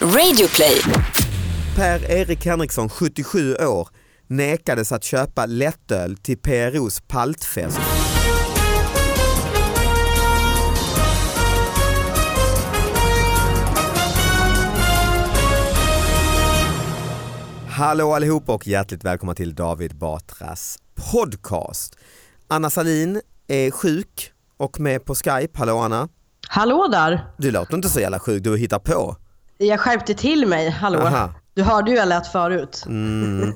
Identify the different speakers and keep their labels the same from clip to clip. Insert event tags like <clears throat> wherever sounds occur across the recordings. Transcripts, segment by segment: Speaker 1: Radioplay.
Speaker 2: Per-Erik Henriksson, 77 år, nekades att köpa lättöl till PROs paltfest. Hallå allihopa och hjärtligt välkomna till David Batras podcast. Anna Salin är sjuk och med på Skype. Hallå Anna.
Speaker 3: Hallå där!
Speaker 2: Du låter inte så jävla sjuk, du hittar på.
Speaker 3: Jag skärpte till mig, hallå.
Speaker 2: Aha.
Speaker 3: Du hörde ju jag lät förut.
Speaker 2: Mm.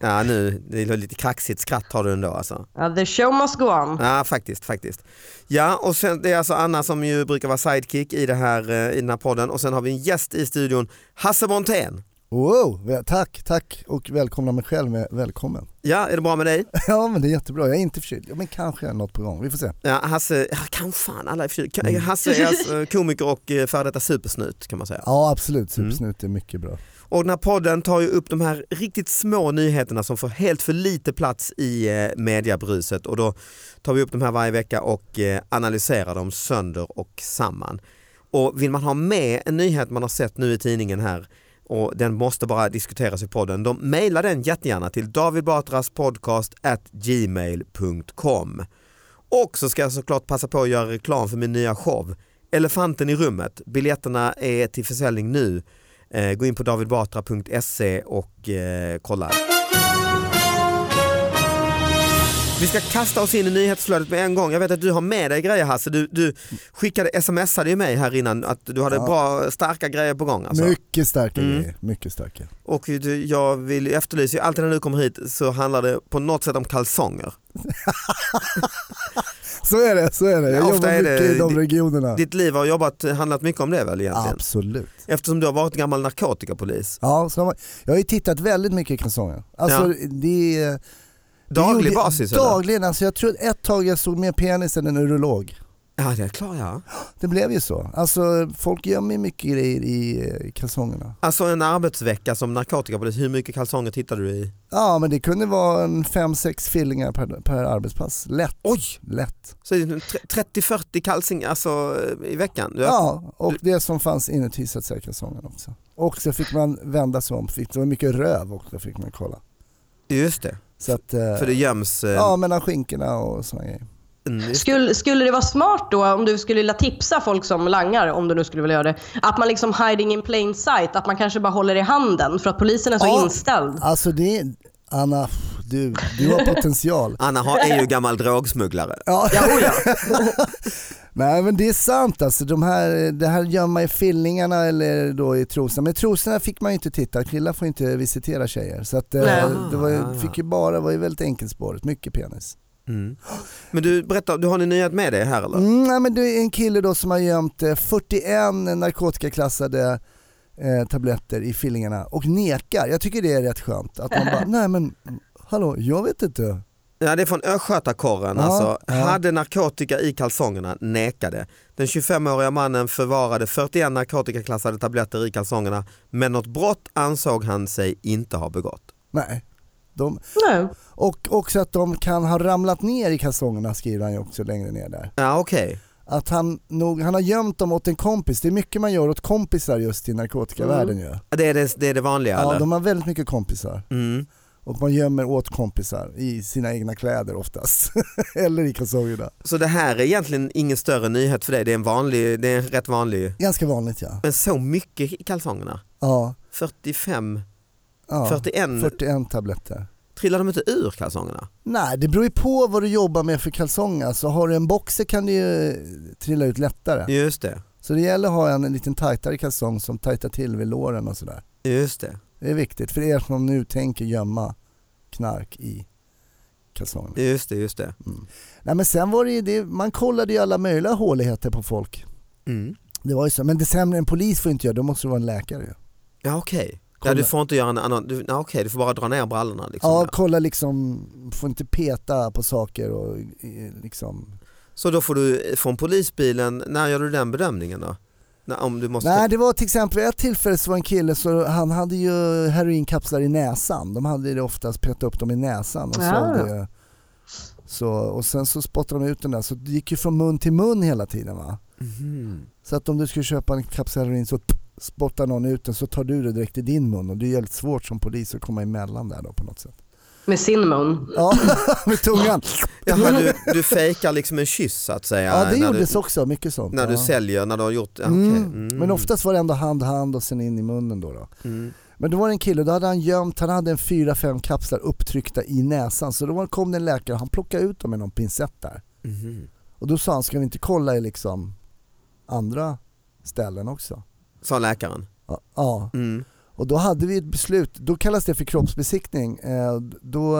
Speaker 2: Ja nu, det är lite kaxigt skratt har du ändå alltså.
Speaker 3: Ja, the show must go on.
Speaker 2: Ja faktiskt, faktiskt. Ja och sen det är alltså Anna som ju brukar vara sidekick i, det här, eh, i den här podden och sen har vi en gäst i studion, Hasse Brontén.
Speaker 4: Wow, vä- tack, tack och välkomna mig själv med välkommen. <laughs>
Speaker 2: Ja, är det bra med dig?
Speaker 4: Ja men det är jättebra, jag är inte förkyld. Ja, men kanske är något på gång, vi får se.
Speaker 2: Ja, Hasse, ja, kan fan alla är förkylda. Kan- Hasse är alltså komiker och eh, före detta supersnut kan man säga.
Speaker 4: Ja absolut,
Speaker 2: Mm.
Speaker 4: supersnut är mycket bra.
Speaker 2: Och den här podden tar ju upp de här riktigt små nyheterna som får helt för lite plats i eh, mediabruset och då tar vi upp de här varje vecka och eh, analyserar dem sönder och samman. Och vill man ha med en nyhet man har sett nu i tidningen här och den måste bara diskuteras i podden, då mejla den jättegärna till davidbatraspodcast@gmail.com. Och så ska jag såklart passa på att göra reklam för min nya show Elefanten i rummet. Biljetterna är till försäljning nu. Eh, Gå in på davidbatra.se och eh, kolla. Vi ska kasta oss in i nyhetsflödet med en gång. Jag vet att du har med dig grejer Hasse. Du, du skickade, smsade ju mig här innan att du hade
Speaker 4: Ja.
Speaker 2: bra, starka grejer på gång. Alltså.
Speaker 4: Mycket starka
Speaker 2: Mm.
Speaker 4: grejer, mycket starka.
Speaker 2: Och du, jag vill efterlysa, ju alltid när du kommer hit så handlar det på något sätt om kalsonger.
Speaker 4: Så är det, så är det. Jag
Speaker 2: Ja, ofta
Speaker 4: jobbar
Speaker 2: är det-
Speaker 4: mycket i de
Speaker 2: det-
Speaker 4: regionerna.
Speaker 2: Ditt liv har jobbat, handlat mycket om det väl egentligen?
Speaker 4: Absolut.
Speaker 2: Eftersom du har varit gammal narkotikapolis.
Speaker 4: Ja, så har man, jag har ju tittat väldigt mycket i kalsonger. Alltså det är... det
Speaker 2: Daglig
Speaker 4: gjorde-
Speaker 2: basis eller?
Speaker 4: Dagligen, alltså jag tror ett tag jag såg mer penis än en urolog.
Speaker 2: Ja det är klart ja.
Speaker 4: Det blev ju så. Alltså folk gömmer mycket grejer i eh, kalsongerna.
Speaker 2: Alltså en arbetsvecka som narkotikapolis, hur mycket kalsonger tittade du i?
Speaker 4: Ja men det kunde vara en 5-6 fillingar per, per arbetspass. Lätt.
Speaker 2: Oj!
Speaker 4: Lätt.
Speaker 2: Så är det 30-40 kalsingar alltså, i veckan? Du,
Speaker 4: Ja, och det som fanns inuti så att säga kalsongen också. Och så fick man vända sig om, fick, det var mycket röv också fick man kolla.
Speaker 2: Just det,
Speaker 4: Så att, eh,
Speaker 2: för det göms. eh,
Speaker 4: ja mellan skinkorna och sådana grejer.
Speaker 2: mm, just-
Speaker 3: Skulle, skulle det vara smart då, om du skulle vilja tipsa folk som langar, om du nu skulle vilja göra det, att man liksom hiding in plain sight, att man kanske bara håller i handen för att polisen är så
Speaker 4: Ja.
Speaker 3: inställd?
Speaker 4: Alltså det är, Anna, pff, du,
Speaker 2: <laughs>
Speaker 4: du har potential.
Speaker 2: Anna har, är ju gammal drogsmugglare.
Speaker 4: Ja. <laughs> Nej men det är sant alltså, de här, det här gömma i fillingarna eller då i trosorna. Men i trosorna fick man ju inte titta, killar får inte visitera tjejer. Så att, eh,
Speaker 3: Nej.
Speaker 4: det var,
Speaker 2: Ah, ja,
Speaker 4: ju-
Speaker 2: ja.
Speaker 4: fick ju bara, var ju väldigt enkelspårigt, mycket penis.
Speaker 2: Mm. Men du, berätta, du har ni nyhet med dig här eller?
Speaker 4: Mm, nej, men det är en kille då som har gömt eh, 41 narkotikaklassade eh, tabletter i fillingarna och nekar. Jag tycker det är rätt skönt att man <laughs> bara, nej men hallå, jag vet inte.
Speaker 2: Ja, det är från Östgötakåren.
Speaker 4: Ja,
Speaker 2: alltså.
Speaker 4: ja.
Speaker 2: Hade narkotika i kalsongerna, nekade. Den 25-åriga mannen förvarade 41 narkotikaklassade tabletter i kalsongerna men något brott ansåg han sig inte ha begått.
Speaker 4: Nej. De,
Speaker 3: Nej.
Speaker 4: och också att de kan ha ramlat ner i kalsongerna skriver han ju också längre ner där.
Speaker 2: Ja, okej.
Speaker 4: att han, nog, han har gömt dem åt en kompis. Det är mycket man gör åt kompisar just i narkotikavärlden ju.
Speaker 2: Det är det, det, är Mm. det vanliga
Speaker 4: Ja,
Speaker 2: eller?
Speaker 4: de har väldigt mycket kompisar
Speaker 2: Mm.
Speaker 4: och man gömmer åt kompisar i sina egna kläder oftast. <laughs> Eller i kalsongerna.
Speaker 2: Så det här är egentligen ingen större nyhet för dig, det är en vanlig, det är en rätt vanlig.
Speaker 4: Ganska vanligt ja.
Speaker 2: Men så mycket i kalsongerna?
Speaker 4: ja,
Speaker 2: 45,
Speaker 4: ja.
Speaker 2: 41,
Speaker 4: 41 tabletter.
Speaker 2: trillar de inte ur kalsongerna?
Speaker 4: Nej, det beror ju på vad du jobbar med för kalsonger. Alltså, har du en boxer kan det ju trilla ut lättare.
Speaker 2: Just det,
Speaker 4: Så det gäller att ha en, en liten tajtare kalsong som tajtar till vid låren och sådär.
Speaker 2: just det.
Speaker 4: Det är viktigt för er som nu tänker gömma knark i kalsongerna.
Speaker 2: Just det, just det.
Speaker 4: Nej men sen var det ju, det, man kollade ju alla möjliga håligheter på folk.
Speaker 2: Mm.
Speaker 4: Det var ju så, men det sämre en polis får inte göra, då måste det vara en läkare ju.
Speaker 2: Ja okej. Ja,
Speaker 4: Kolla.
Speaker 2: du får inte göra en annan, du, ja, okej, du får bara dra ner brallorna. Liksom.
Speaker 4: Ja, kolla liksom, får inte peta på saker och eh, liksom.
Speaker 2: Så då får du från polisbilen, när gör du den bedömningen då? När, om du måste...
Speaker 4: Nej det var till exempel, vid ett tillfälle så var en kille så han hade ju heroinkapslar i näsan. De hade ju oftast petat upp dem i näsan och
Speaker 3: Ja.
Speaker 4: sålde ju. Så, och sen så spottade de ut den där, så det gick ju från mun till mun hela tiden va.
Speaker 2: Mhm.
Speaker 4: Så att om du skulle köpa en kapsel heroin så spottar någon ut den så tar du det direkt i din mun och det är jävligt svårt som polis att komma emellan där då på något sätt.
Speaker 3: Med sin mun.
Speaker 4: Ja, <laughs> med tungan.
Speaker 2: Jaha, du, du fejkar liksom en kyss så att säga?
Speaker 4: Ja, det
Speaker 2: när
Speaker 4: gjordes
Speaker 2: du,
Speaker 4: också, mycket sånt.
Speaker 2: När du
Speaker 4: ja.
Speaker 2: säljer, när du har gjort, ja,
Speaker 4: Mm.
Speaker 2: okej. Mm.
Speaker 4: Men oftast var det ändå hand, hand och sen in i munnen då. då.
Speaker 2: Mm.
Speaker 4: Men då var det en kille, då hade han gömt, han hade en 4-5 kapslar upptryckta i näsan. Så då var- kom det en läkare och han plockade ut dem med någon pincett där.
Speaker 2: Mhm.
Speaker 4: Och då sa han, ska vi inte kolla i liksom andra ställen också?
Speaker 2: Sa läkaren.
Speaker 4: Ja, Ja,
Speaker 2: Mm.
Speaker 4: och då hade vi ett beslut, då kallas det för kroppsbesiktning. Eh, Då,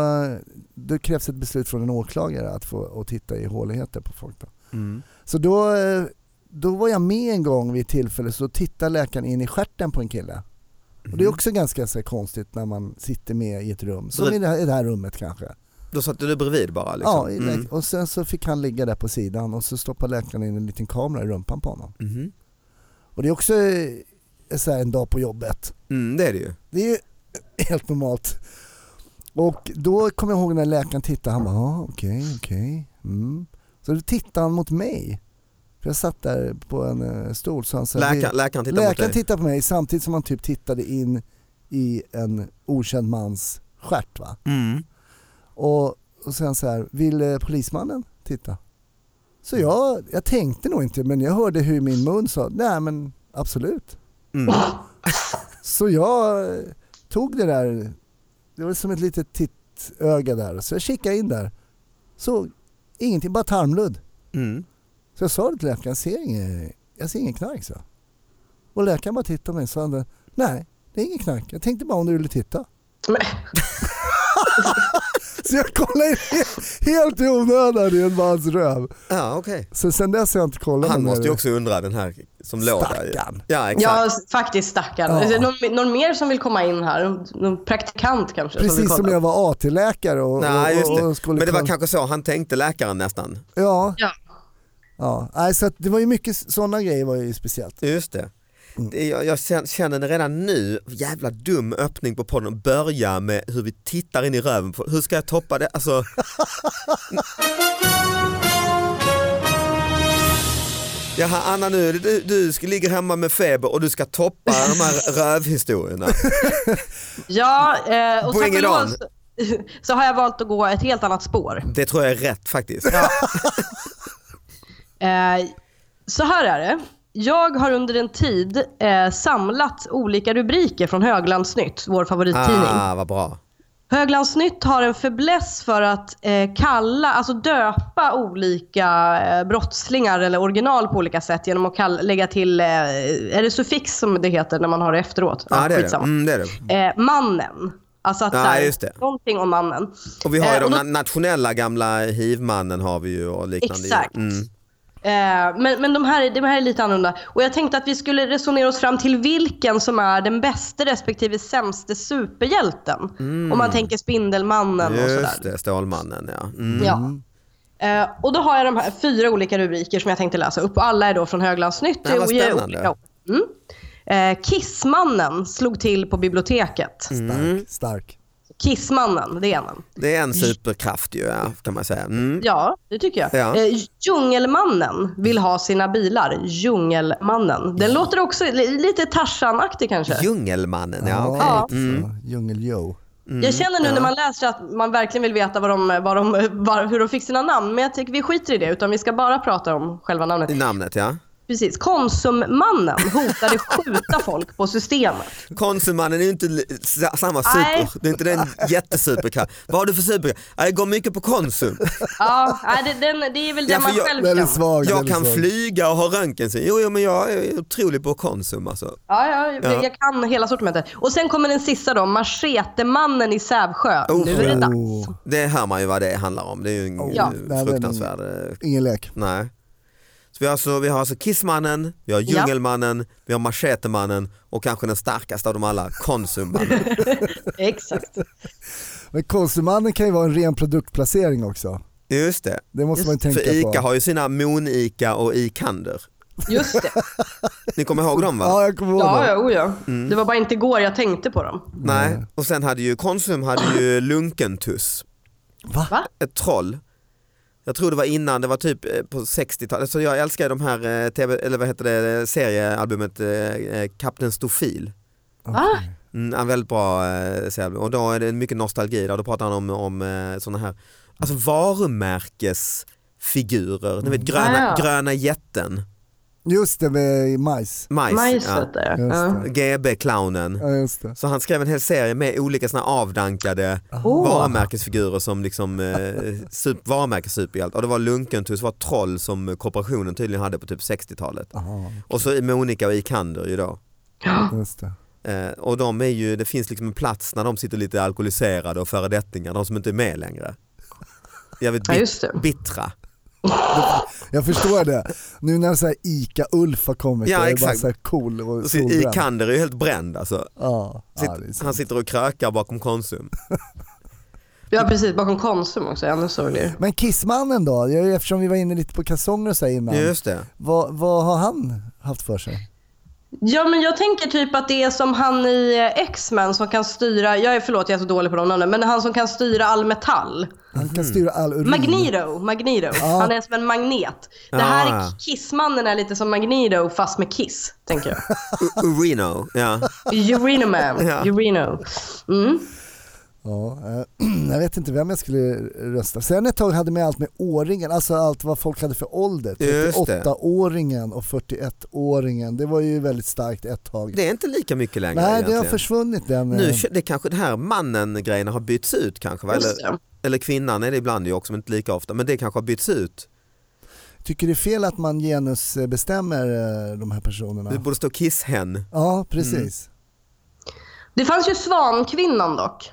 Speaker 4: då krävs ett beslut från en åklagare att få att titta i håligheter på folk. Då.
Speaker 2: Mm.
Speaker 4: Så då, eh, då var jag med en gång vid ett tillfälle så tittade läkaren in i stjärten på en kille. Och det är också ganska så här konstigt när man sitter med i ett rum,
Speaker 2: Mm. Så
Speaker 4: som
Speaker 2: det-
Speaker 4: i det här, i det här rummet kanske.
Speaker 2: Då satte du bredvid bara liksom?
Speaker 4: Ja, i lä-
Speaker 2: Mm.
Speaker 4: och sen så fick han ligga där på sidan och så stoppade läkaren in en liten kamera i rumpan på honom.
Speaker 2: Mhm.
Speaker 4: Och det är också eh, så här en dag på jobbet.
Speaker 2: Mm, det är det ju.
Speaker 4: Det är ju <laughs> helt normalt. Och då kommer jag ihåg när läkaren tittade, han bara ah, okej, okej. Mm. Så då tittade han mot mig. För jag satt där på en eh, stol. Så han sa,
Speaker 2: Läkaren, läkaren tittar mot
Speaker 4: läkaren
Speaker 2: dig.
Speaker 4: tittade på mig samtidigt som han typ tittade in i en okänd mans stjärt. Va?
Speaker 2: Mm.
Speaker 4: Och, och sen så här, vill eh, polismannen titta? Så jag, jag tänkte nog inte men jag hörde hur min mun sa, nej men absolut.
Speaker 2: Mm.
Speaker 4: Ah. Så jag eh, tog det där, det var som ett litet tittöga där, så jag kikade in där. Så ingenting, bara tarmludd.
Speaker 2: Mm.
Speaker 4: Så jag sa det till läkaren, jag ser ingen, jag ser ingen knark så. Och läkaren bara tittade på mig och sa, nej det är ingen knark, jag tänkte bara om du ville titta. <laughs>
Speaker 3: Men,
Speaker 4: Så jag kollade in <laughs> he- helt i onödan i en mans röv.
Speaker 2: Ja, okej.
Speaker 4: Så sen dess har jag inte kollat
Speaker 2: Han
Speaker 4: mig
Speaker 2: måste ju
Speaker 4: mer.
Speaker 2: också undra den här som låg där. ju.
Speaker 4: Stackarn.
Speaker 2: Ja, exakt.
Speaker 3: ja, s- faktiskt stackarn.
Speaker 4: Ja.
Speaker 3: Är det Någon, någon mer som vill komma in här? Någon praktikant kanske? vill
Speaker 4: Precis
Speaker 3: kolla?
Speaker 4: som jag var AT-läkare och,
Speaker 2: Nej,
Speaker 4: och, och, och
Speaker 2: just det.
Speaker 4: skulle
Speaker 2: Men det var
Speaker 4: kolla-
Speaker 2: kanske så han tänkte läkaren nästan.
Speaker 4: Ja,
Speaker 3: Ja.
Speaker 4: ja. Nej, så att det var ju mycket sådana grejer var ju speciellt.
Speaker 2: Just det.
Speaker 4: Mm.
Speaker 2: Det- Jag, jag kän- känner det redan nu, jävla dum öppning på podden, börja med hur vi tittar in i röven. på- Hur ska jag toppa det?
Speaker 4: <laughs>
Speaker 2: Alltså, Jaha Anna nu, du, du ska- ligger hemma med feber och du ska toppa de
Speaker 4: <laughs>
Speaker 2: här rövhistorierna.
Speaker 3: Ja, eh, och
Speaker 2: Bring
Speaker 3: tack
Speaker 2: it
Speaker 3: och lov
Speaker 2: on.
Speaker 3: så, så har jag valt <laughs> att gå ett helt annat spår.
Speaker 2: Det tror jag är rätt faktiskt.
Speaker 3: Eh, så här är det. Jag har under en tid eh, samlat olika rubriker från Höglandsnytt, vår favorittidning.
Speaker 2: Ah, vad bra.
Speaker 3: Höglandsnytt har en fäbless för att eh, kalla, alltså döpa olika eh, brottslingar eller original på olika sätt genom att kalla, lägga till, eh, är det suffix som det heter när man har det efteråt?
Speaker 2: Ja, det är det.
Speaker 3: skitsamma.
Speaker 2: Mm, det är det.
Speaker 3: Eh, mannen. Alltså att
Speaker 2: Ja,
Speaker 3: så här,
Speaker 2: just det.
Speaker 3: någonting om mannen.
Speaker 2: Och vi har ju
Speaker 3: Eh,
Speaker 2: de
Speaker 3: och då-
Speaker 2: na- nationella gamla hivmannen har vi ju och liknande.
Speaker 3: Exakt.
Speaker 2: Mm.
Speaker 3: Eh, men men de, här, de här är lite annorlunda. Och jag tänkte att vi skulle resonera oss fram till vilken som är den bästa respektive sämste superhjälten. Om man tänker Spindelmannen och sådär.
Speaker 2: Mm. Just det, Stålmannen ja. Mm.
Speaker 3: Ja. Eh, och då har jag de här fyra olika rubriker som jag tänkte läsa upp. Och alla är då från Höglandsnytt.
Speaker 2: Ja, vad
Speaker 3: och ger
Speaker 2: spännande.
Speaker 3: olika år. Mm. Eh, Kissmannen slog till på biblioteket.
Speaker 2: Mm.
Speaker 4: Stark, stark.
Speaker 3: Kissmannen, det är en.
Speaker 2: Det är en superkraft ju, ja, kan man säga. Mm.
Speaker 3: Ja, det tycker jag.
Speaker 2: Ja.
Speaker 3: Eh, djungelmannen vill ha sina bilar. Djungelmannen. Den låter också li- lite Tarzan-aktig kanske.
Speaker 2: Djungelmannen, ja okej. Mm.
Speaker 4: Ja, alltså,
Speaker 3: Ja.
Speaker 4: lite så. Djungel-Joe.
Speaker 3: jag känner nu
Speaker 2: ja.
Speaker 3: när man läser att man verkligen vill veta vad de, vad de, var, hur de fick sina namn. Men jag tycker vi skiter i det utan vi ska bara prata om själva namnet.
Speaker 2: I namnet ja.
Speaker 3: Precis. Konsummannen hotade skjuta folk på systemet.
Speaker 2: Konsummannen är ju inte li- sa- samma super,
Speaker 3: Nej.
Speaker 2: det är inte den jättesuperkraft. Vad har du för superkraft? Ja, Jag går mycket på Konsum.
Speaker 3: Ja, nej, det, den, det är väl
Speaker 2: Ja,
Speaker 3: det
Speaker 2: för
Speaker 3: man
Speaker 2: jag-
Speaker 3: själv
Speaker 4: Den är
Speaker 3: kan.
Speaker 4: svag. den
Speaker 2: Jag
Speaker 4: är
Speaker 2: kan
Speaker 4: svag.
Speaker 2: flyga och ha röntgensyn. Jo, jo men jag är otrolig på Konsum alltså.
Speaker 3: Ja, ja, jag-
Speaker 2: Ja.
Speaker 3: Jag kan hela sortimentet. Och sen kommer den sista då, Machetemannen i Sävsjö.
Speaker 2: Oh.
Speaker 3: Nu är det dags.
Speaker 4: Oh,
Speaker 2: Det hör man ju vad det handlar om. Det är ju en
Speaker 4: Oh,
Speaker 2: oh,
Speaker 3: ja.
Speaker 2: fruktansvärd eh,
Speaker 4: ingen lek.
Speaker 2: Nej. Så vi, har alltså, vi har alltså Kissmannen, vi har Djungelmannen, vi har Machetemannen och kanske den starkaste av dem alla,
Speaker 4: <laughs>
Speaker 2: Konsummannen.
Speaker 3: Exakt.
Speaker 4: Men Konsummannen kan ju vara en ren produktplacering också.
Speaker 2: Just det.
Speaker 4: Det måste man ju tänka
Speaker 2: För ICA
Speaker 4: på.
Speaker 2: har ju sina Mon-ICA och Ikander.
Speaker 3: Just det.
Speaker 2: Ni kommer ihåg dem Mm. va?
Speaker 4: <laughs> Ja, jag kommer ihåg
Speaker 3: Ja,
Speaker 4: det.
Speaker 3: ja, oh, ja. Det var bara inte igår jag tänkte på dem.
Speaker 2: Nej. Och sen hade ju Konsum hade ju Lunkentuss,
Speaker 4: Va?
Speaker 3: Va?
Speaker 2: ett troll Jag tror det var innan, det var typ eh, på 60-talet. Så jag älskar de här eh, TV, eller vad heter det, seriealbumet eh, eh, Kapten Stofil.
Speaker 3: Ah,
Speaker 2: Mm, en väldigt bra eh, seriealbum. Och då är det mycket nostalgi där. Då pratar han om, om eh, sådana här alltså varumärkesfigurer. Ni vet gröna,
Speaker 3: Ah, ja.
Speaker 2: gröna jätten,
Speaker 4: Just det, med majs.
Speaker 2: majs.
Speaker 3: Majset
Speaker 2: Ja.
Speaker 3: där.
Speaker 4: Just
Speaker 3: Ja.
Speaker 4: det.
Speaker 2: GB-clownen.
Speaker 4: Ja, just det.
Speaker 2: Så han skrev en hel serie med olika såna avdankade
Speaker 3: Åh.
Speaker 2: varumärkesfigurer som liksom eh, sup, varumärkessuperhjälte. Och det var Lunkentus, var troll som kooperationen tydligen hade på typ 60-talet.
Speaker 4: Aha,
Speaker 2: Och så Monica och Ikander ju då.
Speaker 4: just det.
Speaker 2: Eh, och de är ju, det finns liksom en plats när de sitter lite alkoholiserade och föredettingar, de som inte är med längre. Jävligt
Speaker 3: Ja,
Speaker 2: bit-
Speaker 3: just det.
Speaker 2: bittra.
Speaker 4: Jag förstår det. Nu när så här Ica-Ulf har kommit
Speaker 2: Ja,
Speaker 4: och är bara
Speaker 2: exakt.
Speaker 4: så här cool och
Speaker 2: Och så
Speaker 4: solbränd.
Speaker 2: Ikander är ju helt bränd alltså.
Speaker 4: Ja,
Speaker 2: Sitt,
Speaker 4: ja, det är så.
Speaker 2: han sitter och krökar bakom Konsum.
Speaker 3: ja, precis. Bakom Konsum också. Ännu sorgligare.
Speaker 4: Men Kissmannen då? Jag- Eftersom vi var inne lite på kalsonger och så här innan.
Speaker 2: Just det.
Speaker 4: Vad, vad har han haft för sig?
Speaker 3: Ja, men jag tänker typ att det är som han i eh, X-Men som kan styra... Jag är, förlåt, jag är så dålig på de namnen. Men han som kan styra all metall.
Speaker 2: Mm.
Speaker 4: Han kan
Speaker 2: Mhm.
Speaker 4: styra all urin.
Speaker 3: Magneto. Magneto. Han är som en magnet. Det här
Speaker 2: Ah.
Speaker 3: är Kissmannen är lite som Magneto fast med Kiss, tänker jag.
Speaker 2: U- Urino, ja. <laughs>
Speaker 3: Urino man. Urino. Mm.
Speaker 4: Ja, eh, <clears throat> jag vet inte vem jag skulle rösta. Sen ett tag hade man allt med åringen, alltså allt vad folk hade för ålder.
Speaker 2: Just det.
Speaker 4: 38-åringen och 41-åringen. Det var ju väldigt starkt ett tag.
Speaker 2: Det är inte lika mycket längre
Speaker 4: Nej, det har
Speaker 2: egentligen.
Speaker 4: försvunnit den.
Speaker 2: Nu,
Speaker 4: eh,
Speaker 2: kö- det kanske det här mannen-grejerna har bytts ut kanske, va?
Speaker 3: Just
Speaker 2: eller, eller kvinnan är det ibland ju också men inte lika ofta, men det kanske har bytts ut.
Speaker 4: Tycker det är fel att man genusbestämmer eh, de här personerna?
Speaker 2: Det borde stå kisshen.
Speaker 4: Ja, precis.
Speaker 3: Det fanns ju Svankvinnan dock.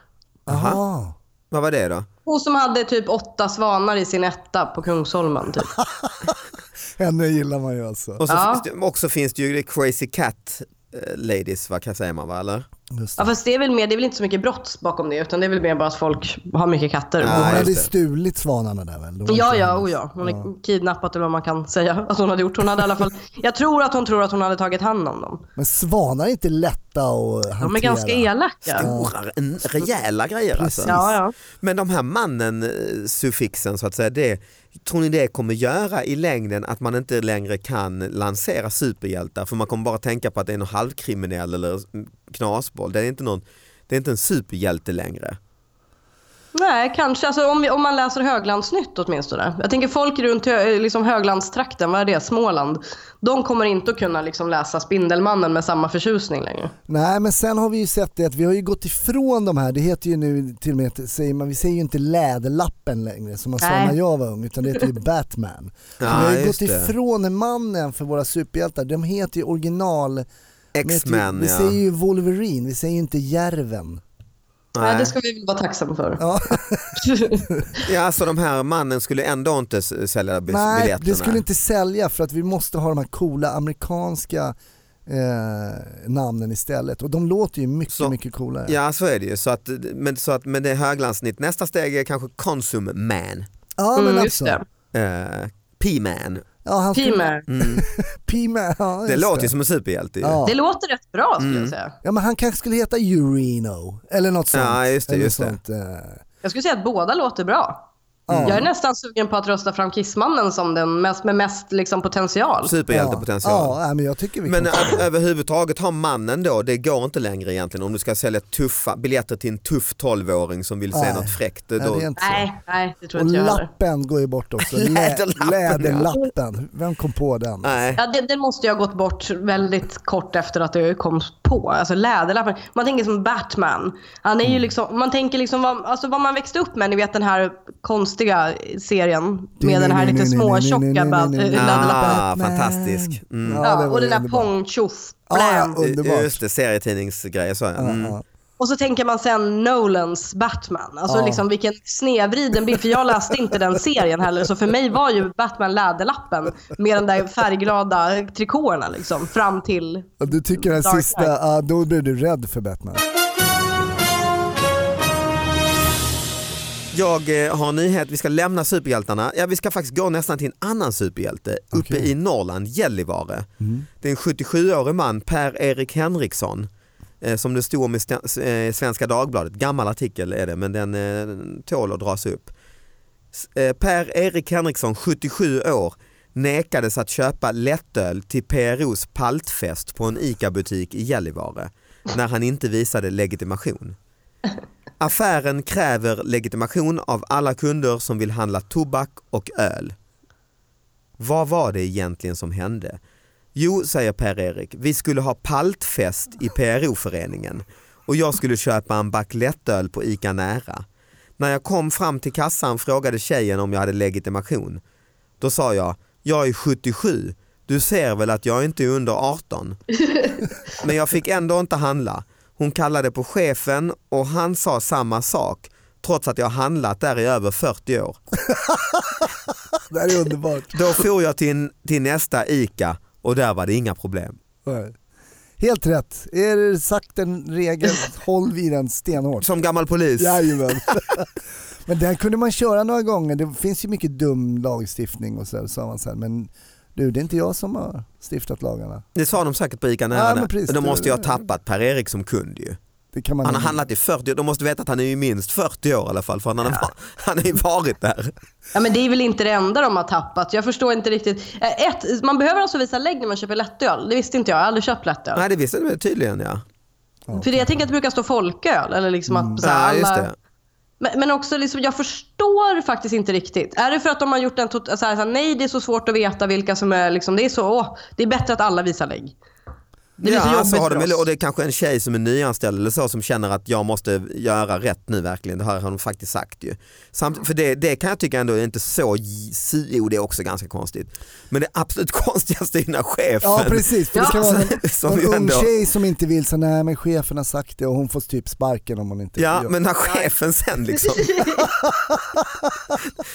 Speaker 2: Mm.
Speaker 4: Aha.
Speaker 2: Vad var det då?
Speaker 3: Hon som hade typ åtta svanar i sin etta på Kungsholmen.
Speaker 4: <laughs>
Speaker 3: Typ.
Speaker 4: Henne gillar man ju alltså.
Speaker 2: Och så
Speaker 3: Ja.
Speaker 2: finns det, också finns det ju det crazy cat eh, ladies, vad kan säga man va? Eller?
Speaker 4: Just
Speaker 3: Ja,
Speaker 4: det.
Speaker 3: fast det är, väl mer, det är väl inte så mycket brott bakom det utan det är väl mer bara att folk har mycket katter.
Speaker 4: Hon
Speaker 2: Ja, just
Speaker 4: hade
Speaker 2: det.
Speaker 4: stulit svanarna där väl? Det var
Speaker 3: Ja,
Speaker 4: inte
Speaker 3: ja,
Speaker 4: hennes.
Speaker 3: oh ja. Hon är kidnappat eller vad man kan säga <laughs> att hon hade gjort. Hon hade i alla fall, jag tror att hon tror att hon hade tagit hand om dem.
Speaker 4: Men svanar är inte lätta att hantera.
Speaker 3: De är ganska elaka.
Speaker 2: Stora, en, rejäla grejer alltså.
Speaker 3: Ja, ja.
Speaker 2: Men de här mannen-suffixen så att säga, det, tror ni det kommer göra i längden att man inte längre kan lansera superhjältar för man kommer bara tänka på att det är någon halvkriminell eller mm, knasboll. Det är inte, någon, det är inte en superhjälte längre.
Speaker 3: Nej, kanske. Alltså, om, vi, om man läser Höglandsnytt åtminstone. Jag tänker folk runt hö, liksom Höglandstrakten, vad är det? Småland. De kommer inte att kunna liksom läsa Spindelmannen med samma förtjusning längre.
Speaker 4: Nej men sen har vi ju sett det att vi har ju gått ifrån de här, det heter ju nu till och med, säger man, vi säger ju inte Läderlappen längre som man sa
Speaker 3: Nej.
Speaker 4: när jag var ung utan det
Speaker 3: <laughs>
Speaker 4: heter ju Batman. Så
Speaker 2: Ja,
Speaker 4: vi har ju
Speaker 2: just
Speaker 4: gått
Speaker 2: det.
Speaker 4: ifrån mannen för våra superhjältar, de heter ju original, de heter ju-
Speaker 2: X-Men
Speaker 4: vi
Speaker 2: ja.
Speaker 4: säger ju Wolverine, vi säger ju inte Järven.
Speaker 3: Nej.
Speaker 2: Nej.
Speaker 3: det ska vi väl vara tacksamma för.
Speaker 2: <laughs>
Speaker 3: <laughs>
Speaker 4: Ja.
Speaker 2: Ja, så de här mannen skulle ändå inte s- sälja bis-
Speaker 4: Nej,
Speaker 2: biljetterna?
Speaker 4: det skulle inte sälja för att vi måste ha de här coola amerikanska eh, namnen istället och de låter ju mycket,
Speaker 2: Så-
Speaker 4: mycket coolare.
Speaker 2: Ja, så är det ju. Så att, men, så att, men det är höglandsnitt. Nästa steg är kanske Consum Man,
Speaker 4: Ja, men
Speaker 3: Mm, just
Speaker 4: alltså.
Speaker 3: det.
Speaker 2: eh, P-Man.
Speaker 4: Ja, han skulle-
Speaker 3: Teamer.
Speaker 4: P-man. Ja,
Speaker 2: Det
Speaker 4: just
Speaker 2: låter ju som en superhjälte. ju.
Speaker 4: Ja.
Speaker 3: Det låter rätt bra skulle jag säga.
Speaker 4: Ja men han kanske skulle heta Urino eller något sånt.
Speaker 2: Ja, just det,
Speaker 4: eller
Speaker 2: just det.
Speaker 4: sånt. eh.
Speaker 3: Jag skulle säga att båda låter bra.
Speaker 4: Mm.
Speaker 3: Jag är nästan sugen på att rösta fram Kissmannen som den mest, med mest liksom, potential.
Speaker 2: Superhjältepotential.
Speaker 4: Ja, ja, men jag tycker vi
Speaker 2: Men eh,
Speaker 4: kan...
Speaker 2: ö- överhuvudtaget har mannen då, det går inte längre egentligen om du ska sälja tuffa biljetter till en tuff 12-åring som vill se
Speaker 4: Nej.
Speaker 2: något fräckt.
Speaker 4: Nej,
Speaker 2: Då,
Speaker 4: det är inte så.
Speaker 3: Nej, nej, det tror
Speaker 4: Och
Speaker 3: inte jag heller.
Speaker 4: lappen går ju bort också. Lä-
Speaker 2: Läderlappen, ja. Ah.
Speaker 4: Läderlappen. Vem kom på den?
Speaker 2: nej.
Speaker 3: Ja, det, det måste ju ha gått bort väldigt kort efter att det kom på. Alltså läderlappen. Man tänker som Batman. Han är
Speaker 4: Mm.
Speaker 3: ju liksom, man tänker liksom vad, alltså vad man växte upp med. Ni vet den här konstiga serien med den här lite småtjocka ba- eh, läderlappen.
Speaker 2: Ah, fantastisk. Mm.
Speaker 4: Ja, det
Speaker 3: Ja,
Speaker 4: var
Speaker 3: och den där
Speaker 4: underbart.
Speaker 3: pong tjoff.
Speaker 4: Ja, ja,
Speaker 3: blam.
Speaker 4: underbart.
Speaker 2: Just det, serietidningsgrejer sa jag. Mm.
Speaker 4: Ja.
Speaker 3: Och så tänker man sen Nolans Batman. Alltså
Speaker 4: Ja.
Speaker 3: liksom vilken snedvriden bild. För jag läste inte den serien heller. Så för mig var ju Batman Läderlappen med den där färgglada trikåerna liksom. Fram till...
Speaker 4: Ja, Du tycker den
Speaker 3: Dark
Speaker 4: sista,
Speaker 3: Knight.
Speaker 4: ja, då blir du rädd för Batman. <laughs>
Speaker 2: Jag eh, har en nyhet, vi ska lämna superhjältarna. Ja, vi ska faktiskt gå nästan till en annan superhjälte uppe i Norrland, Gällivare. Det är en 77-årig man, Per-Erik Henriksson, eh, som det stod om i Sten- eh, Svenska Dagbladet. Gammal artikel är det, men den eh, tål att dras upp. Eh, Per-Erik Henriksson, 77 år, nekades att köpa lättöl till PROs paltfest på en ICA-butik i Gällivare när han inte visade legitimation. Affären kräver legitimation av alla kunder som vill handla tobak och öl. Vad var det egentligen som hände? Jo, säger Per-Erik, vi skulle ha paltfest i PRO-föreningen och jag skulle köpa en back lättöl på ICA Nära. När jag kom fram till kassan frågade tjejen om jag hade legitimation. Då sa jag, jag är 77, du ser väl att jag inte är under 18? Men jag fick ändå inte handla. Hon kallade på chefen och han sa samma sak trots att jag handlat där i över 40 år.
Speaker 4: Det här är underbart.
Speaker 2: Då for jag till, till nästa ICA och där var det inga problem.
Speaker 4: Nej. Helt rätt. Är det sagt en regel, håll vid den stenhårt.
Speaker 2: Som gammal polis. <laughs>
Speaker 4: Jajamän. Men den kunde man köra några gånger. Det finns ju mycket dum lagstiftning och så, sa man sen. Men du, det är inte jag som har stiftat lagarna.
Speaker 2: Det sa de säkert på ICA
Speaker 4: Ja,
Speaker 2: Nära.
Speaker 4: men
Speaker 2: där.
Speaker 4: precis.
Speaker 2: de måste ju ha tappat Per-Erik som kund ju.
Speaker 4: Det kan man
Speaker 2: Han har handlat i 40 år, de måste veta att han är ju minst 40 år i alla fall för han har, <laughs> han har ju varit där.
Speaker 3: Ja, men det är väl inte det enda de har tappat. Jag förstår inte riktigt. Eh, Ett, man behöver alltså visa lägg när man köper lättöl. Det visste inte jag. Jag har aldrig köpt lättöl.
Speaker 2: Nej det visste du tydligen ja.
Speaker 3: För det, jag tänker att det brukar stå folköl. Eller liksom att, så här,
Speaker 2: ja Mm. just
Speaker 3: alla-
Speaker 2: det.
Speaker 3: Men, men också, liksom, jag förstår faktiskt inte riktigt. Är det för att de har gjort en tot- så här, så här, nej det är så svårt att veta vilka som är, liksom, det är så, åh, det är bättre att alla visar lägg. Det blir så
Speaker 2: Ja,
Speaker 3: jobbigt
Speaker 2: så har de,
Speaker 3: för
Speaker 2: väl-
Speaker 3: oss.
Speaker 2: och det är kanske en tjej som är nyanställd eller så som känner att jag måste göra rätt nu verkligen. Det har hon faktiskt sagt ju. Samt, för det, det kan jag tycka ändå är inte så, j- si- jo det är också ganska konstigt. Men det absolut <laughs> konstigaste är ju när chefen
Speaker 4: Ja precis, för det
Speaker 2: <laughs>
Speaker 4: kan
Speaker 2: Ja.
Speaker 4: vara
Speaker 2: Som
Speaker 4: en,
Speaker 2: ju
Speaker 4: en ung
Speaker 2: ändå-
Speaker 4: tjej som inte vill så nej men chefen har sagt det och hon får typ sparken om hon inte
Speaker 2: Ja,
Speaker 4: gör-
Speaker 2: men när chefen sen liksom. <laughs>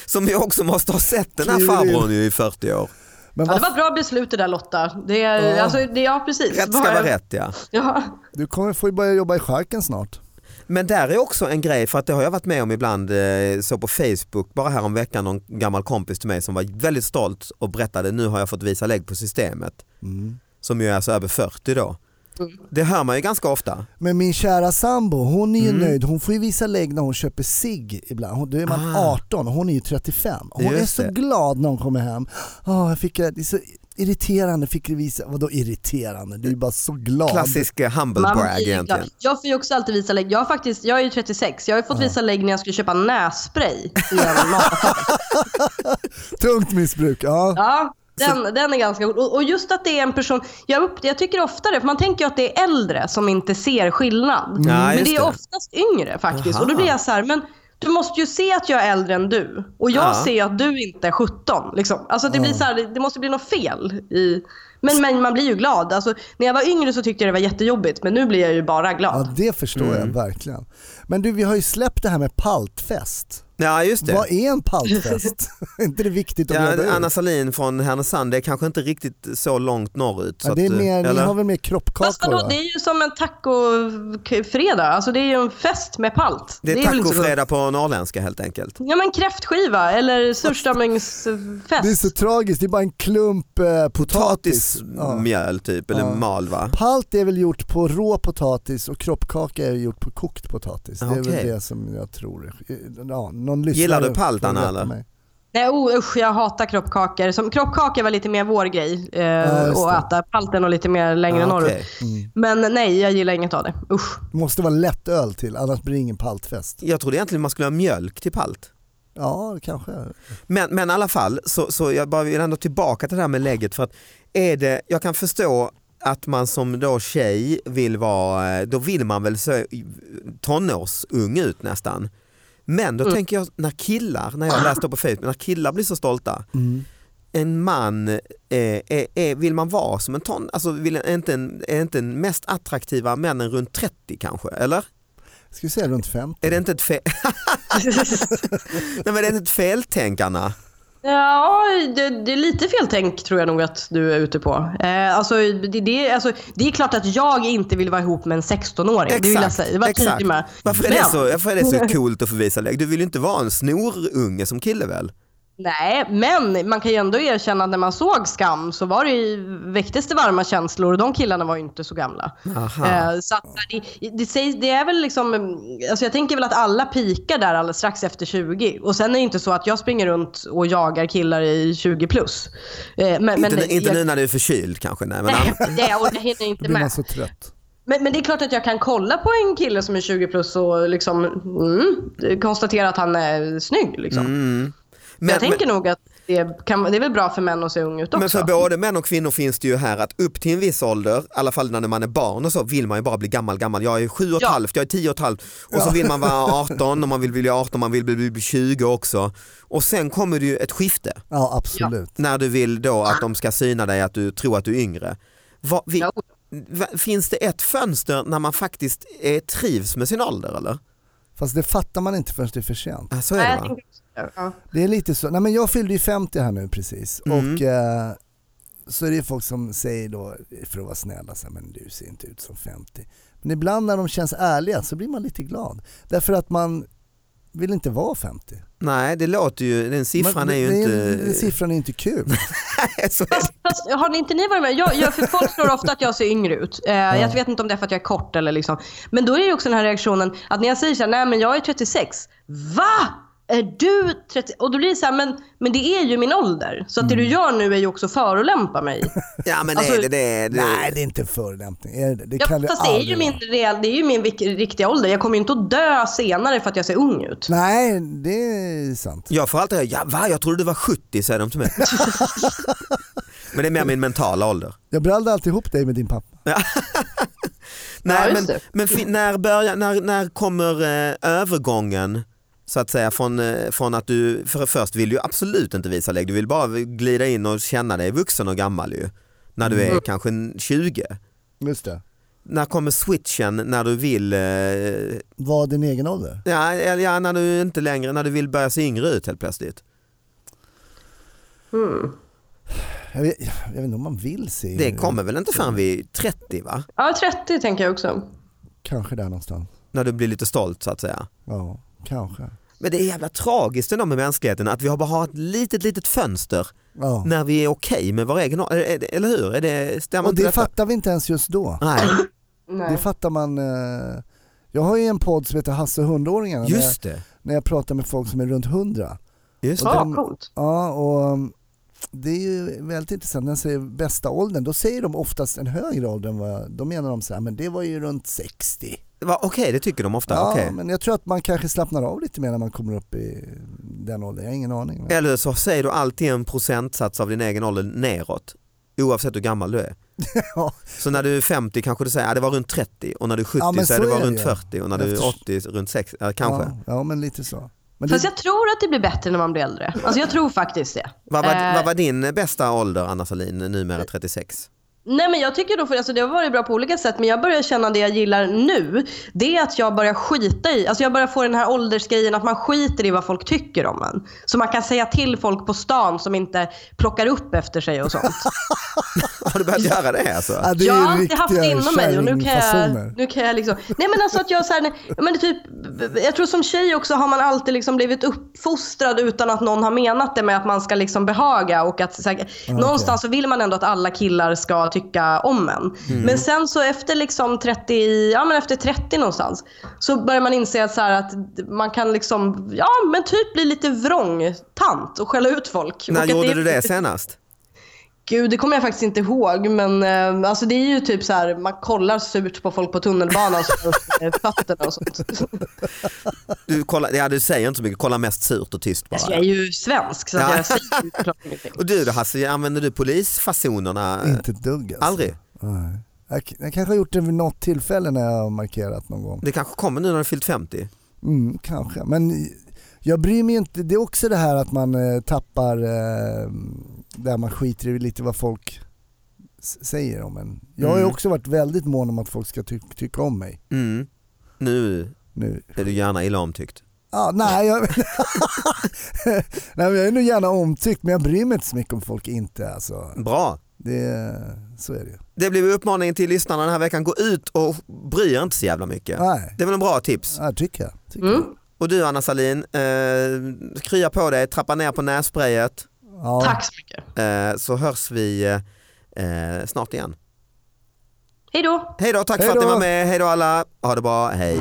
Speaker 2: Som ju också måste ha sett den här
Speaker 4: Kliver in.
Speaker 2: farbrorn ju i 40 år.
Speaker 4: men
Speaker 3: Ja, det
Speaker 4: vad,
Speaker 3: var bra beslut det där Lotta. Det är,
Speaker 4: Ja.
Speaker 3: alltså, det, ja precis.
Speaker 2: Rätt ska
Speaker 3: Vad-
Speaker 2: vara rätt ja.
Speaker 3: Ja.
Speaker 4: du kommer få börja jobba i charken snart.
Speaker 2: Men där är också en grej, för att det har jag varit med om ibland eh, så på Facebook, bara här om veckan någon gammal kompis till mig som var väldigt stolt och berättade nu har jag fått visa lägg på systemet.
Speaker 4: Mm.
Speaker 2: Som ju är alltså över 40 då.
Speaker 3: Mm.
Speaker 2: Det hör man ju ganska ofta.
Speaker 4: Men min kära sambo, hon är
Speaker 2: Mm.
Speaker 4: ju nöjd. Hon får ju visa lägg när hon köper sig ibland. Hon, då är man 18 och hon är ju 35. Hon är
Speaker 2: Ah. Just
Speaker 4: så
Speaker 2: det.
Speaker 4: glad när hon kommer hem. Oh, jag fick, det är så irriterande, fick du visa. Vadå irriterande? Du är ju bara så glad.
Speaker 2: Klassisk eh, humble
Speaker 3: Man
Speaker 2: brag
Speaker 3: blir glad.
Speaker 2: egentligen.
Speaker 3: Jag får ju också alltid visa lägg. Jag, har faktiskt, jag är ju 36. Jag har ju fått visa lägg när jag skulle köpa nässpray. i
Speaker 2: <laughs>
Speaker 3: en mataffär.
Speaker 4: Tungt missbruk. Ja.
Speaker 3: ja, den, den är ganska god. Och, och just att det är en person. Jag, upp, jag tycker oftare, för man tänker ju att det är äldre som inte ser skillnad.
Speaker 2: Mm. Ja,
Speaker 3: men
Speaker 2: just
Speaker 3: det är
Speaker 2: det.
Speaker 3: oftast yngre faktiskt.
Speaker 2: Aha.
Speaker 3: Och då blir jag så här, men du måste ju se att jag är äldre än du. Och jag
Speaker 2: Ja.
Speaker 3: ser ju att du inte är 17. Liksom. Alltså det, blir så här, det, det måste bli något fel. I, men, men man blir ju glad. Alltså, när jag var yngre så tyckte jag det var jättejobbigt. Men nu blir jag ju bara glad.
Speaker 4: ja, det förstår
Speaker 2: Mm.
Speaker 4: jag verkligen. Men du, vi har ju släppt det här med paltfest.
Speaker 2: Ja just det.
Speaker 4: Vad är en paltfest? <laughs> är inte det viktigt att reda
Speaker 2: Ja,
Speaker 4: ut?
Speaker 2: Anna Salin från Härnösand, det är kanske inte riktigt så långt norrut. Så
Speaker 4: Ja, det är
Speaker 2: att, eh,
Speaker 4: mer, ni
Speaker 2: eller?
Speaker 4: har väl mer
Speaker 3: Fast
Speaker 4: kroppkakor?
Speaker 3: vadå,
Speaker 4: va?
Speaker 3: det är ju som en tacofredag. Alltså det är ju en fest med palt.
Speaker 2: Det är
Speaker 3: väl inte så gott.
Speaker 2: tacofredag på norrländska helt enkelt.
Speaker 3: Ja men kräftskiva eller surströmmingsfest.
Speaker 4: Det är så tragiskt, det är bara en klump eh, potatis. Ja.
Speaker 2: Potatismjöl typ, eller mal va?
Speaker 4: Palt är väl gjort på rå potatis och kroppkaka är gjort på kokt potatis.
Speaker 2: Ah,
Speaker 4: Det är väl
Speaker 2: okej.
Speaker 4: det som jag tror. Ja, någon
Speaker 2: Gillar du
Speaker 4: lyssnare
Speaker 2: palt,
Speaker 4: får
Speaker 2: Anna,
Speaker 4: rätta
Speaker 2: eller?
Speaker 4: mig.
Speaker 3: Nej oh, usch, jag hatar kroppkakor. Som, kroppkakor var lite mer vår grej eh,
Speaker 4: just det. Ah, Mm.
Speaker 3: att äta. Palten och lite mer längre
Speaker 2: Ja,
Speaker 3: norrut.
Speaker 2: okej.
Speaker 3: Men nej, jag gillar inget av det. Usch.
Speaker 4: Det måste vara lätt öl till annars blir det ingen paltfest.
Speaker 2: Jag trodde egentligen man skulle ha mjölk till palt.
Speaker 4: Ja, kanske.
Speaker 2: Men, men i alla fall, så, så jag bara vill ändå tillbaka till det här med lägget. För att är det, jag kan förstå att man som då tjej vill vara, då vill man väl se tonårsung ut nästan. Men då tänker jag när killar, när jag läste på Facebook, när killar blir så stolta. En man, eh, är, är, vill man vara som en ton, alltså vill, är, inte en, är inte den mest attraktiva männen runt 30 kanske? Eller?
Speaker 4: Ska vi säga runt 50?
Speaker 2: Är det inte ett, fe- <laughs> Nej, men är det inte ett feltänkarna?
Speaker 3: Ja, det, det är lite feltänk tror jag nog att du är ute på. Eh, alltså, det, det, alltså, det är klart att jag inte vill vara ihop med en 16-åring. Det vill jag säga. Det var jag tydlig med.
Speaker 2: Varför är, det
Speaker 3: Men-
Speaker 2: så, varför är det så coolt att förvisa lägg? Du vill ju inte vara en snorunge som kille väl?
Speaker 3: Nej, men man kan ju ändå erkänna att när man såg Skam så var det ju, väcktes det varma känslor och de killarna var ju inte så gamla.
Speaker 2: Aha.
Speaker 3: Eh, så att, det, det, sägs, det är väl liksom, alltså jag tänker väl att alla pikar där alldeles strax efter 20. Och sen är det inte så att jag springer runt och jagar killar i 20 plus. Eh, men, men,
Speaker 2: inte inte
Speaker 3: jag,
Speaker 2: nu när du är förkyld kanske. Nej, men
Speaker 3: Nej,
Speaker 2: annars-
Speaker 3: det, och jag hinner
Speaker 4: Då
Speaker 3: inte
Speaker 4: blir alltså-
Speaker 3: med.
Speaker 4: man så trött.
Speaker 3: Men, men det är klart att jag kan kolla på en kille som är 20 plus och liksom, mm, konstatera att han är snygg. Liksom.
Speaker 2: men,
Speaker 3: jag
Speaker 2: men,
Speaker 3: tänker nog att det, kan, det är väl bra för män att se ung ut också.
Speaker 2: men för både män och kvinnor finns det ju här att upp till en viss ålder, i alla fall när man är barn och så, vill man ju bara bli gammal, gammal. Jag är sju och ett
Speaker 3: Ja.
Speaker 2: halvt, jag är tio och ett halvt och så vill man vara
Speaker 3: <laughs>
Speaker 2: 18 och man vill bli 18, man vill bli bli 20 också. Och sen kommer det ju ett skifte
Speaker 4: Ja, absolut.
Speaker 2: när du vill då att de ska syna dig att du tror att du är yngre. Va, vi,
Speaker 3: Ja.
Speaker 2: va, finns det ett fönster när man faktiskt eh, trivs med sin ålder eller?
Speaker 4: Fast det fattar man inte förrän det är för sent.
Speaker 2: Ja, så
Speaker 3: Nej,
Speaker 2: är
Speaker 3: jag
Speaker 2: det va?
Speaker 3: tänker också, ja.
Speaker 4: Det är lite så. Nej men jag fyllde ju 50 här nu precis
Speaker 2: Mm.
Speaker 4: och eh, så är det ju folk som säger då, för att vara snälla, så här, men du ser inte ut som 50. Men ibland när de känns ärliga så blir man lite glad. Därför att man vill inte vara 50.
Speaker 2: Nej det låter ju, den siffran
Speaker 4: man,
Speaker 2: är ju
Speaker 4: det-
Speaker 2: inte...
Speaker 4: det-
Speaker 2: <laughs>
Speaker 4: Siffran är inte kul.
Speaker 2: Så-
Speaker 3: Fast, har ni inte ni varit med? Jag, jag, för folk tror ofta att jag ser yngre ut. Eh, Jag vet inte om det är för att jag är kort eller liksom. Men då är det ju också den här reaktionen att när jag säger så här, nej men jag är 36. Va? Är du 30? Och då blir det så här, men, men det är ju min ålder. Så att det du gör nu är ju också förolämpa mig.
Speaker 2: Ja men
Speaker 3: Alltså-
Speaker 2: är Mm. <laughs> det det? det
Speaker 4: Nej det är inte en förolämpning. Är det det? Det
Speaker 3: Ja,
Speaker 4: kan det
Speaker 3: fast det är ju
Speaker 4: aldrig
Speaker 3: min,
Speaker 4: vara.
Speaker 3: real, det är ju min vik- riktiga ålder. Jag kommer ju inte att dö senare för att jag ser ung ut.
Speaker 4: Nej, det är sant.
Speaker 2: Jag får alltid höra, ja, va? jag trodde du var 70 säger de till mig. men det är mer min mentala ålder.
Speaker 4: Jag brallade alltid ihop dig med din pappa.
Speaker 2: Nej,
Speaker 3: just
Speaker 2: men
Speaker 3: det.
Speaker 2: men fi- när, börjar, när, när kommer eh, övergången så att säga från, eh, från att du, för först vill du ju absolut inte visa lägg, du vill bara glida in och känna dig vuxen och gammal ju. När du är
Speaker 3: Mm.
Speaker 2: kanske 20.
Speaker 4: Just det.
Speaker 2: När kommer switchen när du vill, eh, ja,
Speaker 4: Var din egen ålder?
Speaker 2: eller ja, när du inte längre, när du vill börja se yngre ut helt plötsligt.
Speaker 4: Jag vet, jag vet inte om man vill se.
Speaker 3: Mm.
Speaker 2: Det kommer väl inte förrän vid 30 va?
Speaker 3: Ja, 30 tänker jag också.
Speaker 4: Kanske där någonstans.
Speaker 2: När du blir lite stolt så att säga.
Speaker 4: Ja, kanske.
Speaker 2: Men det är jävla tragiskt ändå med mänskligheten att vi har bara har ett litet, litet fönster
Speaker 4: Ja.
Speaker 2: när vi är okej med vår egen ålder. Är det- Eller hur? Är det, stämmer
Speaker 4: Och
Speaker 2: inte
Speaker 4: det
Speaker 2: detta?
Speaker 4: fattar vi inte ens just då.
Speaker 2: Nej,
Speaker 4: Det
Speaker 3: Nej.
Speaker 4: fattar man. eh, Jag har ju en podd som heter Hasse och hundåringarna när, jag-
Speaker 2: just det.
Speaker 4: när jag pratar med folk som är runt hundra.
Speaker 2: Just det.
Speaker 3: Ja,
Speaker 4: den-
Speaker 3: coolt.
Speaker 4: Ja, och um, det är ju väldigt intressant. När jag säger bästa åldern, då säger de oftast en högre ålder än vad jag, då menar de så här, men det var ju runt 60.
Speaker 2: Va, Okej, det tycker de ofta.
Speaker 4: Ja,
Speaker 2: okej.
Speaker 4: men jag tror att man kanske slappnar av lite mer när man kommer upp i den åldern. Jag har ingen
Speaker 2: <laughs>
Speaker 4: aning. men-
Speaker 2: Eller så säger du alltid en procentsats av din egen ålder neråt. Oavsett hur gammal du är.
Speaker 4: Ja.
Speaker 2: Så när du är 50 kanske du säger att det var runt 30 och när du är 70
Speaker 4: Ja, men
Speaker 2: säger
Speaker 4: så
Speaker 2: du det
Speaker 4: är
Speaker 2: var
Speaker 4: det
Speaker 2: runt
Speaker 4: ju.
Speaker 2: 40 och när du är
Speaker 4: Eftersom-
Speaker 2: 80 runt 60, ja, kanske.
Speaker 4: Ja, ja, men lite så. Men
Speaker 2: Mm.
Speaker 3: Fast
Speaker 4: det,
Speaker 3: jag tror att det blir bättre när man blir äldre. Alltså jag tror faktiskt det.
Speaker 2: Vad, var,
Speaker 3: Eh,
Speaker 2: vad var din bästa ålder Anna Salin numera 36?
Speaker 3: Nej men jag tycker då, för alltså, det har varit bra på olika sätt, men jag börjar känna det jag gillar nu. Det är att jag börjar skita i, alltså jag börjar få den här åldersgrejen att man skiter i vad folk tycker om en. Så man kan säga till folk på stan som inte plockar upp efter sig och sånt.
Speaker 2: Har du börjat göra det alltså?
Speaker 4: ja, det
Speaker 3: jag
Speaker 4: är
Speaker 3: har
Speaker 4: ju
Speaker 3: alltid haft
Speaker 4: riktiga
Speaker 3: det inom mig och nu kan
Speaker 4: kärringfasoner.
Speaker 3: jag, nu kan jag liksom, nej men alltså att jag så här, nej, men det typ, jag tror som tjej också har man alltid liksom blivit uppfostrad utan att någon har menat det med att man ska liksom behaga och att så här, någonstans så vill man ändå att alla killar ska tycka om en.
Speaker 4: Mm.
Speaker 3: Men sen så efter liksom 30, ja men efter 30 någonstans så börjar man inse att, så här, att man kan liksom, ja men typ bli lite vrångtant och skälla ut folk. och
Speaker 2: när
Speaker 3: att det
Speaker 2: gjorde
Speaker 3: är- typ-
Speaker 2: du det senast?
Speaker 3: Gud, det kommer jag faktiskt inte ihåg. Men eh, alltså det är ju typ så här, man kollar surt på folk på tunnelbanan som har upp, eh, fötterna
Speaker 2: <laughs>
Speaker 3: och sånt.
Speaker 2: Du, kollar, ja, du säger inte så mycket, kolla mest surt och tyst bara.
Speaker 3: Alltså, jag är ju svensk så att
Speaker 2: Ja.
Speaker 3: jag säger ju klart ingenting.
Speaker 2: Och du då Hasse, använder du polisfasonerna?
Speaker 4: Inte ett dugg alltså.
Speaker 2: Aldrig?
Speaker 4: Nej. Jag, jag kanske har gjort det vid något tillfälle när jag har markerat någon gång.
Speaker 2: Det kanske kommer nu när du har fyllt 50?
Speaker 4: Mm, kanske, men jag bryr mig inte. Det är också det här att man eh, tappar, eh, där man skiter i lite vad folk s- säger om en. Jag har ju
Speaker 2: Mm.
Speaker 4: också varit väldigt mån om att folk ska ty- tycka om mig
Speaker 2: Mm. Nu
Speaker 4: nu.
Speaker 2: är du gärna illa omtyckt.
Speaker 4: Ah, nej, jag... <laughs> nej, men jag är nog gärna omtyckt men jag bryr mig inte så mycket om folk inte. Alltså.
Speaker 2: Bra.
Speaker 4: Det, så är det ju.
Speaker 2: Det blev uppmaningen till lyssnarna den här veckan, gå ut och bry er inte så jävla mycket.
Speaker 4: Nej,
Speaker 2: Det är väl en bra tips.
Speaker 4: ja, tycker jag. Tycker
Speaker 3: Mm.
Speaker 4: jag.
Speaker 2: Och du Anna Salin, eh, krya på dig, trappa ner på nässprayet
Speaker 4: Ja.
Speaker 3: Tack så mycket.
Speaker 2: eh, så hörs vi eh, snart igen.
Speaker 3: Hej då!
Speaker 2: Hej då, tack
Speaker 4: Hej
Speaker 2: för att ni
Speaker 4: då.
Speaker 2: var med. Hej då alla. Ha det bra, hej.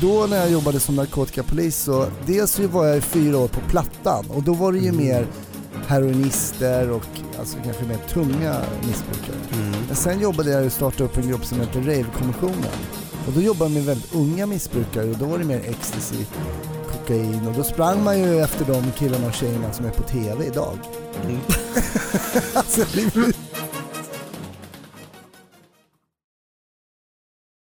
Speaker 4: Då när jag jobbade som narkotikapolis så dels så var jag i fyra år på Plattan och då var det ju mer heroinister och alltså kanske mer tunga missbrukare. Men sen jobbade jag och startade upp en grupp som heter Rave-kommissionen och då jobbade jag med väldigt unga missbrukare och då var det mer ecstasy, kokain och då sprang man ju efter de killarna och tjejerna som är på TV idag. <laughs> alltså, det är-